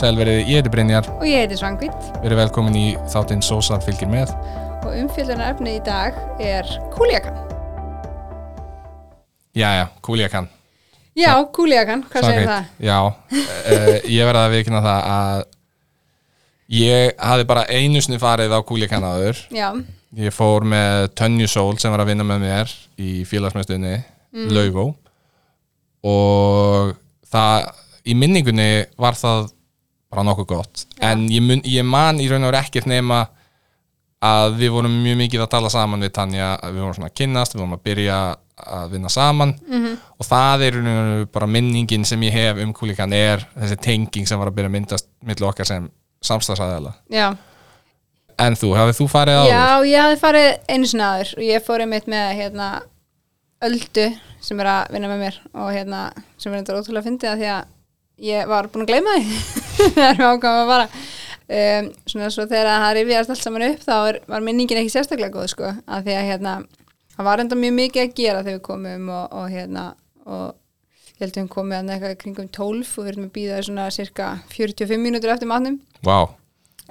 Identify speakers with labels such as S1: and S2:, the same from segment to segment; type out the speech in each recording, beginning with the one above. S1: Sælverið, ég heiti Brynjar,
S2: Og ég heiti Svangvít
S1: verið velkomin í þáttinn Sósan fylgir með.
S2: og umfjöldunarefnið í dag er kúlíakan.
S1: Jæja, kúlíakan.
S2: Já, kúlíakan, hvað segir það?
S1: Já, uh, ég verða að vikna það að ég hafði bara einu sinni farið á kúlíakan áður.
S2: Já,
S1: Ég fór með Tönju Sól sem var að vinna með mér í félagsmyndstunni, Laugó. Og það, í minningunni var það bara nokkuð gott. En ég, mun, ég man í raun og veru ekkert nema að við vorum mjög mikið að tala saman við Tanja, að við vorum svona að kynnast, við vorum að byrja að vinna saman -hmm. og það er í raun og veru bara minningin sem ég hef um kúlíkan er þessi tenging sem var að byrja að myndast milli okkar sem samstagsæðala.
S2: já.
S1: En þú, hafið þú farið áður?
S2: Já, ég hafði farið einu sinni aður og ég fór einmitt með hérna Öldu sem er að vinna með mér og hérna sem er þetta ótrúlega fyndið að því að ég var búin að gleyma því þegar við ákvæmum að fara um, svona svo þegar það rifjast allt saman upp þá er, var minningin ekki sérstaklega góð sko að því að hérna það var enda mjög mikið að gera þegar við komum og, og hérna og ég held að við komum með eitthvað í kringum 12 og við erum að býða svona cirka 45 mínútur eftir matnum
S1: Vá,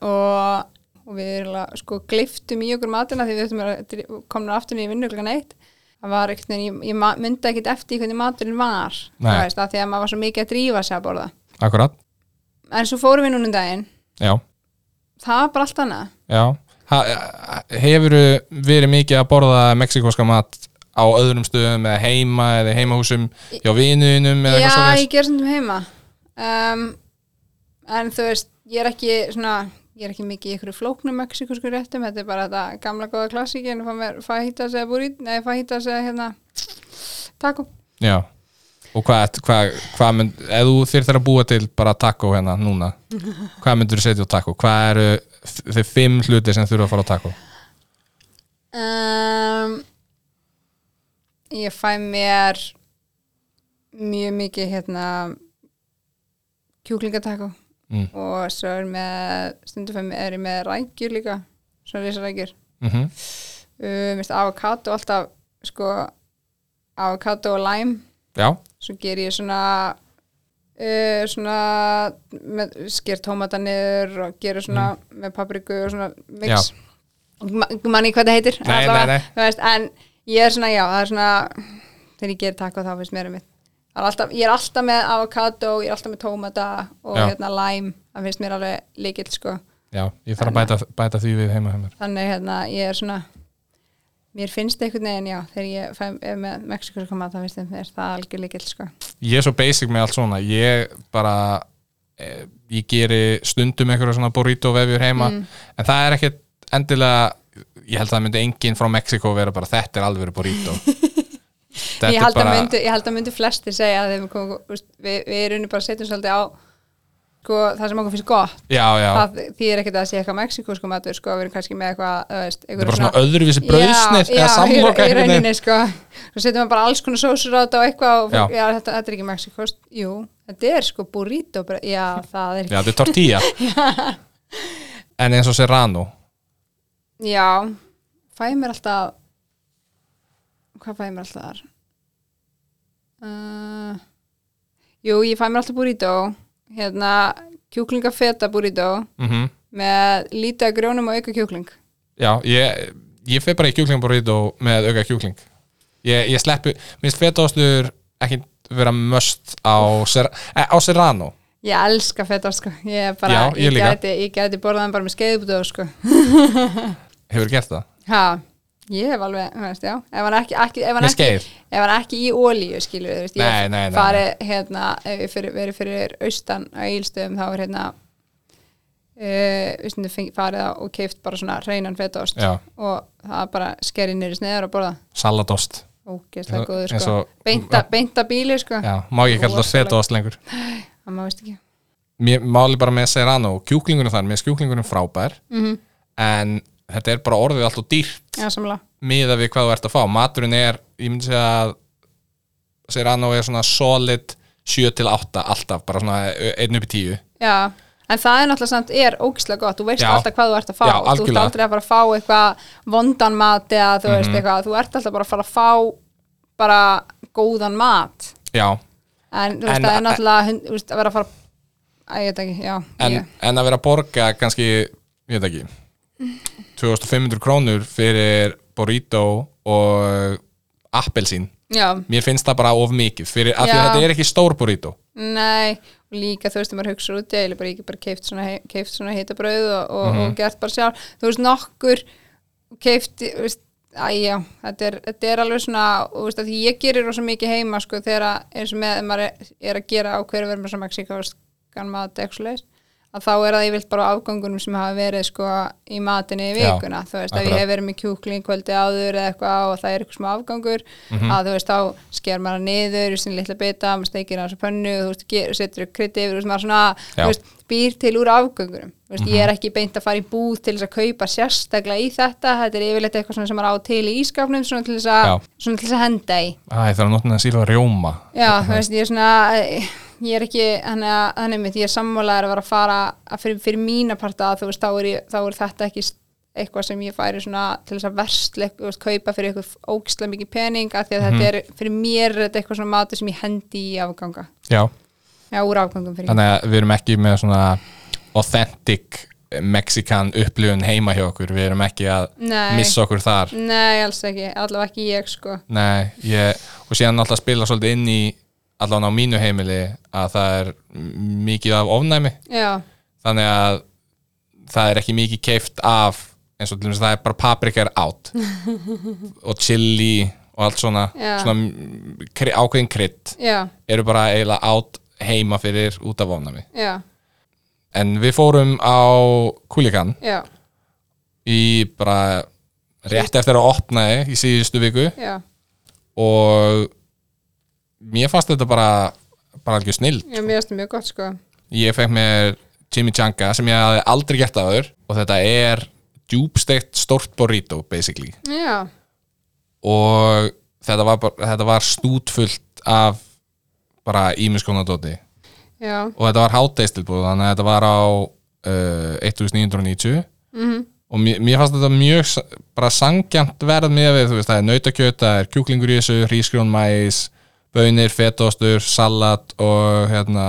S2: og, og við eiginlega, sko gliftum í okkur matina því við þurfum að dri- komna aftur niður í vinnu klukkan eitt það var ekkert, ég, ég ma- myndi ekkert eftir í hvernig maturinn var þú
S1: Nei.
S2: veist, af því að maður var svo mikið að drífa sig að borða
S1: akkurat.
S2: en svo fórum við núna um daginn
S1: Já,
S2: það var bara allt annað
S1: já. Ha, hefur verið mikið að borða mexikoska mat á öðrum stöðum eða heima eða í heimahúsum hjá vinuðinum eða
S2: já,
S1: eitthvað svoleiðis?
S2: ég ger sem heima um, en þú veist, ég er ekki svona ég er ekki mikið í ykkur flóknum mexikusku réttum, þetta er bara þetta gamla góða klassíkin fá, mér- fá hýta sig að búri, nei, fá hýta sig að hérna, taco
S1: Já. Og hvað, ert- hvað, hvað mynd, ef þú þyrftir að búa til bara taco hérna núna, hvað myndur þú setja á taco? Hvað eru þ- þau fimm hluti sem þurfa að fara á taco?
S2: Um, ég fæ mér mjög mikið hérna kjúklingatakó
S1: Mm.
S2: og svo er með stundum fæ mér, er ég með rækjur líka svona risarækjur
S1: Mm
S2: uh, mist avokado alltaf sko avokado og lime
S1: Já,
S2: svo ger ég svona uh, svona með, sker tómata niður og gerur svona
S1: Mm.
S2: með papriku og svona mix Ma- manni hvað það heitir
S1: Nei,
S2: allavega,
S1: nei, nei.
S2: þú Veist, en ég er svona, já, það er svona þegar ég ger taco þá finnst mér um mitt alltaf, ég er alltaf með avocado ég er alltaf með tómata og
S1: Já.
S2: hérna lime það finnst mér alveg líkil sko
S1: já, ég þarf að bæta, bæta því við heima heimar.
S2: þannig hérna, ég er svona mér finnst einhvern veginn, já þegar ég fæ, er með Mexikos koma þá finnst mér það algjör líkil sko
S1: ég er svo basic með allt svona ég bara eh, ég geri stundum einhverja svona burrito vefjur heima,
S2: Mm.
S1: en það er ekkert endilega, ég held að það myndi enginn frá Mexiko vera bara, þetta er alveg burrito þetta
S2: ég
S1: er
S2: held,
S1: bara
S2: að myndu, ég held að myndu flesti segja að þeim kom, úst, við, við erum bara setjum svolítið á sko, það sem okkur finnst gott
S1: já, já,
S2: það þýðir ekkert að það sé eitthvað mexiko sko matur sko, við erum kannski með eitthvað þú veist,
S1: þetta
S2: einhverju
S1: er bara svona öðruvísi brauðsnið
S2: já,
S1: eða
S2: já, í-
S1: samloka
S2: í
S1: einhvern veginn.
S2: rauninni sko svo setjum við bara alls konar sósur á þetta og eitthvað og fólk,
S1: Já.
S2: já. þetta, þetta er ekki mexiko jú, þetta er sko burrito bara, já, það er
S1: já, þetta er tortilla en eins og serrano
S2: ekki já, fæ mér alltaf hvað fæ mér alltaf þar uh, jú, ég fæ mér alltaf burrito hérna, kjúklingafeta burrito
S1: mm
S2: með lítið af grjónum og auka kjúkling
S1: já, ég, ég fer bara í kjúkling burrito með auka kjúkling ég, ég sleppu, minnst fetaostur ekki vera möst á, ser, eh, á serrano
S2: Ég elska feta sko, ég er bara,
S1: Já, ég líka.
S2: gæti, ég gæti borðaðan bara með skeiðbútu sko.
S1: Hefur gert það?
S2: Ha, ég hef alveg, þú veist, já, ef hann ekki, ekki, ef hann
S1: Með
S2: ekki,
S1: skeið?
S2: ef hann ekki í olíu, skilur við, þú veist,
S1: Nei, nei, nei, nei.
S2: ég fari hérna, ef ég fyrir, verið fyrir austan á Ílstöðum, þá er hérna, uh, fengi, farið á og keift bara svona reynan fetaost
S1: Já.
S2: og það er bara skerið nýri sniður og borða,
S1: Saladost
S2: ógeðslega
S1: Já,
S2: góður,
S1: eins
S2: sko,
S1: og-
S2: beinta, beinta bíli, sko,
S1: Já, má ekki kalla það fetaost lengur
S2: það má veist ekki,
S1: Mér máli bara með serrano Kjúklingunum þar, mér er kjúklingunum frábær -hmm. En þetta er bara orðið allt og dýrt
S2: já, samlega,
S1: Miða við hvað þú ert að fá Maturinn er, ég myndi segja að Serrano er svona solid 7 til 8 alltaf Bara svona 1 upp í 10
S2: Já, en það er náttúrulega samt er ógislega gott, þú veist
S1: Já.
S2: alltaf hvað þú ert að fá
S1: Já,
S2: þú ert
S1: algjörlega. Mhm.
S2: aldrei að fara að fá eitthvað vondan mat eða þú veist eitthvað, þú ert alltaf bara að fara að fá bara góðan mat
S1: Já,
S2: en þú veist,
S1: En-
S2: það er náttúrulega hund- þú veist, að vera að fara Æ, ég veit ekki, já
S1: en,
S2: ég,
S1: en að vera að borga kannski, ég veit ekki 2500 krónur fyrir burrito og appelsín
S2: já,
S1: mér finnst það bara of mikið fyrir, af því að
S2: Já.
S1: þetta er ekki stór burrito
S2: nei og líka þú veist, ef maður hugsa út ég er bara ekki bara keift svona, he- keypt svona heita brauð og, og,
S1: Mhm.
S2: og gert bara sjálf þú veist, nokkur keift veist, æ, já, þetta er, þetta er alveg svona og þú veist, að því ég gerir rosa mikið heima sko, þegar að, eins og með ef maður er, er að gera á hverju verðum sem mexikanskan mat eitthvað svoleiðis, að þá er það yfirlt bara á afgangunum sem hafa verið sko í matinni í
S1: Já,
S2: vikuna, þú veist, ef
S1: akkurat.
S2: ég hef verið með kjúkling kvöldi áður eða eitthvað og það er eitthvað smá afgangur
S1: Mhm.
S2: að þú veist, þá sker maður hann niður í sinni litla bita, maður steikir hann á pönnu þú veist, ger, setur krydd yfir, þú veist, maður
S1: Já.
S2: svona
S1: Mhm.
S2: þú veist, býr til úr afgangurum Þú veist, ég er ekki beint að fara í búð til þess að kaupa sérstaklega í þetta, þetta er yfirleitt eitthvað svona sem maður á til í ískapnum, svona til þess
S1: Já.
S2: að svona til þess að henda í
S1: Æ, það er að nota það síla rjóma
S2: Já, þú veist, ég er svona ég er ekki, þannig að þannig mitt, ég er sammálaður að vera að fara að fyrir, fyrir mína parta að þú veist, þá er, ég, þá er þetta ekki s- eitthvað sem ég færi svona til þess að versleik, þú veist, kaupa fyrir eitthvað ógislega mikið pening, af því að
S1: Mhm.
S2: þetta er fyrir mér er þetta eitthvað svona matur sem ég hendi í afganga,
S1: Já,
S2: já, úr afgangum fyrir
S1: þannig að við erum ekki með svona authentic mexikan upplifun heima hjá okkur, við erum ekki að
S2: Nei.
S1: missa okkur þar
S2: Nei, alls ekki, allavega ekki ég sko
S1: Nei, ég, og síðan alltaf spila svolítið inn í allan á mínu heimili að það er m- mikið af ofnæmi
S2: Já,
S1: þannig að það er ekki mikið keift af eins og til dæmis það er bara paprika er átt og chili og allt svona,
S2: Já.
S1: svona mm, kry- ákveðin krydd
S2: já,
S1: eru bara eiginlega átt heima fyrir út af ofnami
S2: já,
S1: en við fórum á Kulikan
S2: já,
S1: í bara rétt eftir að opnaði í síðustu viku
S2: já
S1: og mér fannst þetta bara bara algjör snill
S2: Já, mér finnst það mjög gott sko
S1: ég fekk mér chimichanga sem ég hafði aldrei gert aður og þetta er djúbsteikt stórt burrito basically
S2: Já,
S1: og þetta var, bara, þetta var stútfullt af bara ímiskonadóti
S2: já,
S1: og þetta var hátteistilbúð þannig að þetta var á uh, 1990
S2: mhm,
S1: og mér, mér fannst þetta mjög s- bara sangjant verð með við, þú veist, það er nautakjöt það er kjúklingur í þessu, hrísgrjón, mæs bönir, fetostur, salat og hérna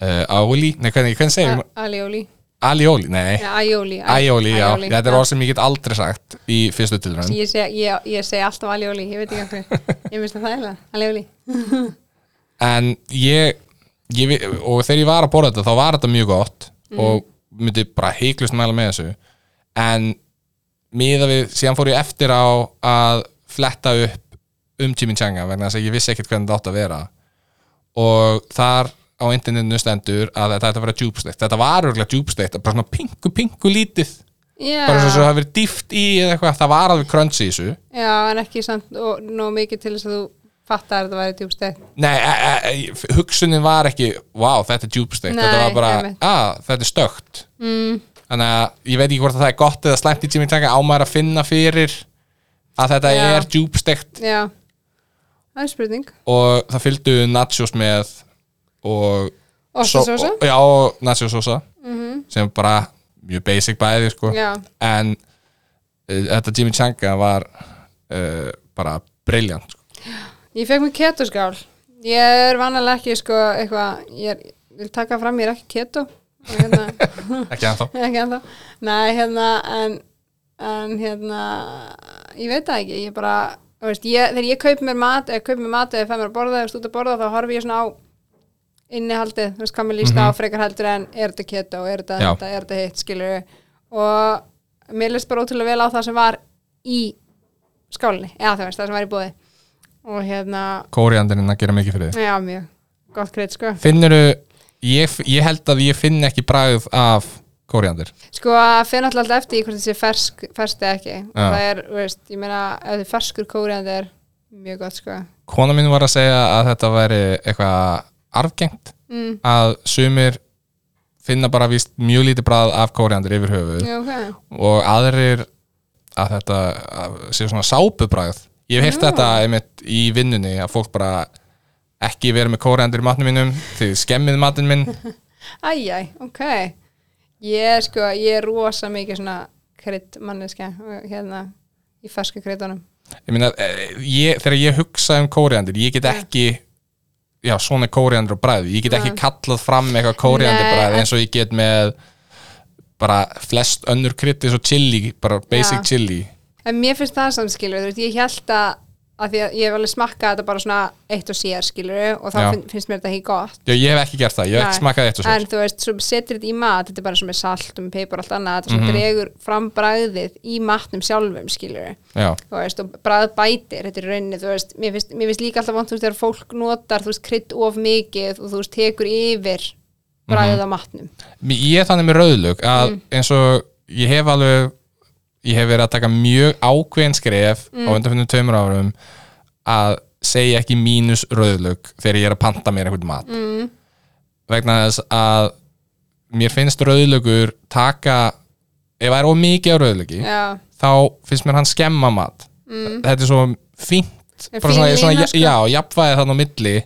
S1: uh, áli, nei hvernig, hvernig segir
S2: mm aljóli
S1: alioli, nei,
S2: Já, æjóli
S1: aioli, já, þetta er orð sem ég get aldrei sagt í fyrstu tilraun
S2: Ég segi, ég, ég segi alltaf aljóli, ég veit ekki af hverju Ég minnst það þægilega, aljóli
S1: en ég, ég vi- og þegar ég var að borða þetta þá var þetta mjög gott og myndi bara heiklust mæla með þessu en miða við, síðan fór ég eftir á að fletta upp um Chimichanga vegna þess að ég vissi ekkert hvernig þetta átt að vera og þar á internetinu stendur að þetta ætti að vera djúbsteikt þetta var örgulega djúbsteikt, bara svona pingu, pingu lítið
S2: Já,
S1: bara svo svo það hafi verið dýft í eða eitthvað, það var alveg crunch í þessu
S2: já, en ekki samt og nóg mikið til þess að þú fattar að þetta væri djúbstætt
S1: Nei, e, e, e, hugsunin var ekki wow, þetta er djúbsteikt,
S2: Nei,
S1: þetta var bara
S2: einmitt.
S1: að, þetta er stökt
S2: mm,
S1: þannig að ég veit ekki hvort að það er gott eða slæmt í Chimichanga, á maður að finna fyrir að þetta
S2: Já.
S1: er djúbsteikt
S2: Já, það er spurning
S1: og það fylgdu nachos með og
S2: Ostasósa?
S1: og- já, og nachos sosa sem bara mjög basic bæði sko.
S2: Mhm. Já,
S1: en uh, þetta Jimmy Changa var uh, bara briljant sko.
S2: ég fekk mér ketoskál Ég er vanalega ekki sko eitthvað, ég er, vil taka fram, ég er ekki keto og hérna
S1: ekki ennþá
S2: ekki ennþá nei, hérna, en, en hérna ég veit það ekki, ég bara þú veist, ég, þegar ég kaup mér mat eða kaup mér mat eða fæ mér að borða eða stúta að borða þá horfi ég svona á innihaldið, þú veist, hvað mér líst á frekar heldur en er þetta keto, er þetta
S1: Já.
S2: þetta, er þetta hitt, skilur og mér leist bara ótrúlega vel á það sem var í skálinni eða þú veist, það sem var í bóði og hérna,
S1: kóriandirinn að gera mikið fyrir þig
S2: já, mjög gott greitt, sko
S1: finnuru, ég, ég held að ég finn ekki bragð af kóriandir
S2: Sko, það fer náttúrulega alltaf eftir í hvort þessi fersk, fersk eða ekki.
S1: Já.
S2: Það er, þú veist, ég meina, ef þið ferskur kóriðandi er mjög gott, sko.
S1: kona mín var að segja að þetta væri eitthvað arfgengt
S2: Mm.
S1: að sumir finna bara víst mjög lítið bragð af kóriandir yfir höfuð
S2: Já, ok.
S1: og aðrir að þetta að séu svona sápubræð ég hef heyrt þetta einmitt í vinnunni að fólk bara ekki vera með kóreandur í matnum mínum þið skemmið matinn minn
S2: Æjæ, ok. Ég er, sko, ég er rosa mikið svona krydd manneska, hérna, í ferska kryddunum.
S1: ég meina, eh, ég, þegar ég hugsa um kóreandur ég get ekki já, svona er kóriandur og bræði ég get ekki kallað fram eitthvað kóriandur
S2: Nei,
S1: bræði eins og ég get með bara flest önnur krydd eins og chili, bara basic
S2: Já.
S1: chili
S2: en mér finnst það samt skilur þú veist, ég held að að því að ég hef alveg smakkað þetta bara svona eitt og sér skilur og þá
S1: Já.
S2: finn, finnst mér þetta ekki gott
S1: já, ég hef ekki gert það, ég hef ekki
S2: Nei.
S1: smakað eitt og sér
S2: en þú veist, svo setur þetta í mat þetta er bara sem er salt og með peipur og allt annað þetta mm
S1: Mhm.
S2: -hmm. dregur fram bragðið í matnum sjálfum skilur
S1: já,
S2: þú veist, og bragð bætir þetta er rauninni, þú veist, mér finnst, mér finnst líka alltaf vant þú veist, þegar fólk notar, þú veist, krydd of mikið og þú veist, tekur yfir
S1: Mhm.
S2: bragðið á matnum
S1: Mér- ég er þannig með rauðlug að eins og ég hef alveg ég hef verið að taka mjög ákveðin skref á undanfinnum tveimur árum að segja ekki mínus rauðlug þegar ég er að panta mér einhvern mat mm. vegna þess að mér finnst rauðlugur taka ef það er of mikið af rauðlugi
S2: já,
S1: þá finnst mér hann skemma mat þetta er svo fínt
S2: En
S1: bara svona,
S2: Mm. fín
S1: svona,
S2: lína,
S1: já,
S2: sko.
S1: já, jafnvæði þannig á milli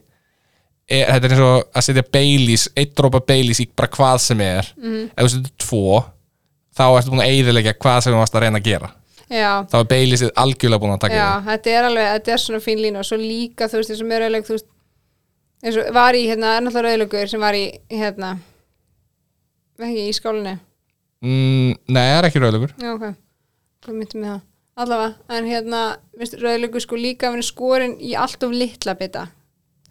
S1: er, þetta er eins og að setja Baileys, eitt drópa Baileys í bara hvað sem er mm. ef þú setur tvo þá ertu búin að eyðilegja hvað sem þú varst að reyna að gera
S2: já
S1: þá er Baileysið algjörlega búin að taka
S2: Já, þetta er alveg, þetta er svona fín lína og svo líka, þú veist, eins og mér rauðlög, þú veist eins og var í, hérna, er náttúrulega rauðlögur sem var í, hérna ekki, í skólinni
S1: yfir mm, nei, það er ekki rauðlugur
S2: Já, ok, hvað myndum við það? Allavega, en hérna, minnst rauðlögur sko líka að vera skorinn í allt of litla bita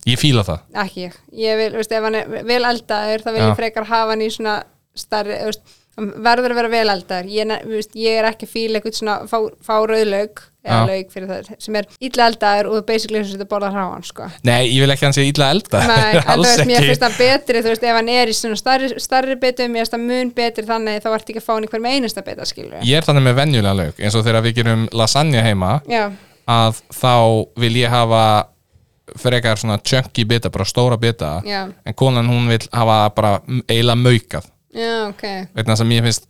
S1: ég fíla það
S2: ekki ég, ég vil, veist, ef hann er vel eldaður þá vil
S1: Já.
S2: ég frekar hafa hann í svona starri, þú veist, hann verður að vera vel eldaður ég, ne- þú veist, ég er ekki að fíla eitthvað svona fá, fá rauðlaug eða
S1: Já.
S2: laug fyrir það, sem er illa eldaður og basically þess að þetta borða hráan sko.
S1: nei, ég vil ekki hann sé illa elda
S2: Nei, en þú
S1: alls
S2: veist, mér
S1: ekki
S2: finnst það betri þú veist, ef hann er í svona starri, starri bitum mér finnst það mun betri þannig þá ertu ekki að fá hann í hverjum einasta bita skilur
S1: ég er þannig með venjulega lauk eins og þegar við gerum lasagna heima
S2: Já,
S1: að þá vil ég hafa frekar svona chunky bita, bara stóra bita
S2: Já.
S1: en konan hún vil hafa bara eila maukað,
S2: já, ok
S1: vegna þess að mér finnst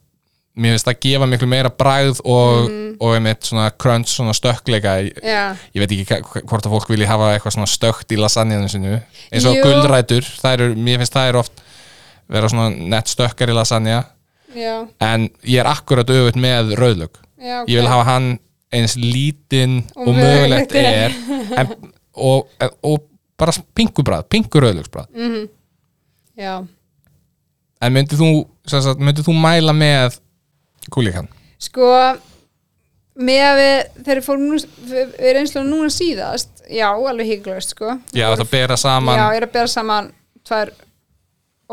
S1: mér finnst það gefa miklu meira bragð og,
S2: Mhm.
S1: og einmitt svona crunch svona stökkleika, ég,
S2: Já,
S1: ég veit ekki hva- hvort að fólk vilji hafa eitthvað svona stökkt í lasagnaðinu sinu, eins og
S2: Jú.
S1: gulrætur það eru, mér finnst það er oft vera svona nett stökkar í lasagna
S2: já,
S1: en ég er akkurat auðvitað með rauðlög
S2: já okay.
S1: ég vil hafa hann eins lítinn og,
S2: Og
S1: mögulegt
S2: mögulegt
S1: er en, og, og bara pingubræð, pingurauðlöksbræð mm.
S2: Já,
S1: en myndir þú, sem sagt, myndir þú mæla með kúlíkan?
S2: Sko með að við þegar við fórum nú, við við reynslu núna síðast já, alveg hygglaust sko
S1: Já, það bera saman
S2: já, ég er að bera saman tvær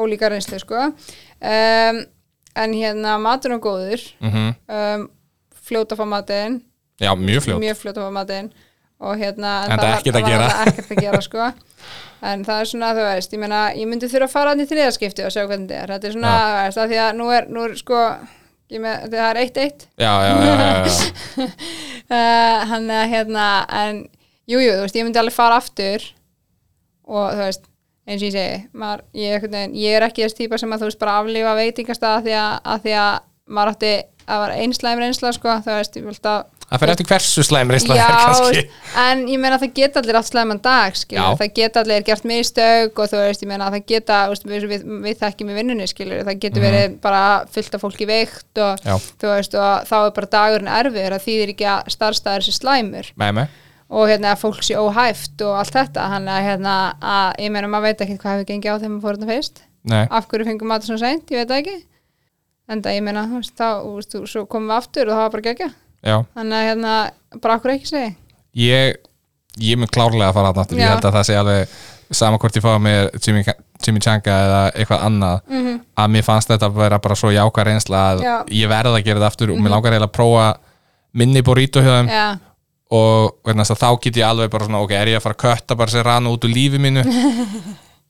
S2: ólíka reynslu sko um, en hérna matur og góður
S1: mm
S2: um, fljóta fá matinn
S1: já mjög fljótt
S2: mjög fljóta fá matinn og hérna
S1: En það er
S2: var-
S1: ekkert að
S2: var
S1: gera.
S2: alveg ekkert að gera sko en það er svona þú veist, ég meina ég myndi þurfa að fara hann í þriðaskipti og sjá hvernig þetta er þetta er svona, þú veist, að því að nú er, nú er sko, ég með, það er eitt eitt
S1: já, já, já, já, já.
S2: Eh, hann er hérna en jújú, jú, þú veist, ég myndi alveg fara aftur og þú veist eins og ég segi, maður, ég, einhvern veginn, ég er ekki þess típa sem að þú veist bara aflífa veitingastað því að, að því að maður átti að vera einslæm reynsla sko, þú veist, ég vilt að
S1: það fer eftir hversu slæm reynsla það er
S2: Já,
S1: kannski
S2: veist, en ég meina það geta allir átt slæman dag skilur,
S1: Já.
S2: það geta allir gert mistök og þú veist, ég meina það geta þú veist, við, við, við þekkjum í vinnunni skilur það getur verið bara fullt af fólki veikt og
S1: Mhm. Já.
S2: þú veist, og þá er bara dagurinn erfiður að þýðir ekki að starfstæður sé slæmur
S1: með mig
S2: og hérna að fólk sé óhæft og allt þetta, hann að hérna að, ég meina maður veit ekki hvað hefur gengið á þegar maður fór þarna fyrst
S1: Nei.
S2: af hverju fengum maður svona seint, ég veit það ekki en það, ég meina, þú veist, þá, þú veist, þú- svo komum við aftur og það var bara gegja
S1: Já.
S2: þannig að hérna, bara okkur ekki segi
S1: ég ég mun klárlega að fara þarna aftur ég
S2: Já.
S1: held að það sé alveg sama hvort ég fá mér Jimmy, Jimmy Changa eða eitthvað annað -hmm. að mér fannst þetta að vera bara svo jáka reynsla að
S2: Mhm. Já. Mhm.
S1: ég verð að gera þetta aftur og mér langar eiginlega að prófa minni burrito hjá þeim
S2: Já,
S1: og vegna þess að þá get ég alveg bara svona ok, er ég að fara að kötta bara sér rann út úr lífi mínu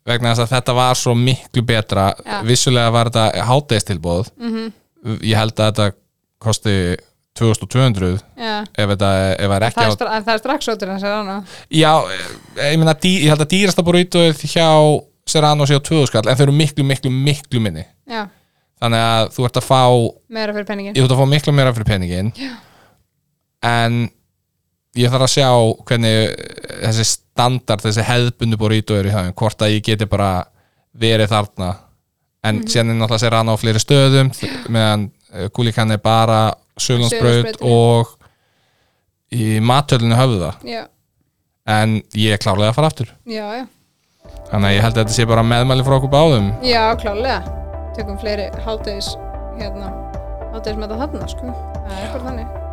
S1: vegna þess að þetta var svo miklu betra
S2: Já. Mhm.
S1: vissulega var þetta hátegistilbóð -hmm. ég held að þetta kosti 2200
S2: já.
S1: ef þetta ef það er ekki
S2: Það
S1: á
S2: er, stra- en það er strax ótur hans er hann
S1: Já, eh, ég meina, dý, ég held að dýrasta burritoið hjá Serrano sé á 2000 skall, en þau eru miklu, miklu, miklu minni.
S2: Já,
S1: Þannig að þú ert að fá,
S2: meira fyrir penningin
S1: ég ert að fá miklu meira fyrir peningin. Já. En ég þarf að sjá hvernig eh, þessi standard, þessi hefðbundu burrito eru í höfum, hvort að ég geti bara verið þarna. En mm -hmm. síðan er náttúrulega Serrano á fleiri stöðum, þ- meðan kúlikan er bara Sölundsbraut
S2: Suðurlandsbraut, já.
S1: og í matölinu höfða.
S2: Já,
S1: En ég er klárlega að fara aftur.
S2: já, já
S1: þannig að ég held að þetta sé bara meðmæli frá okkur báðum
S2: já, klálega tökum fleiri hátæðis hérna, hátæðis með það þarna sko, það er bara þannig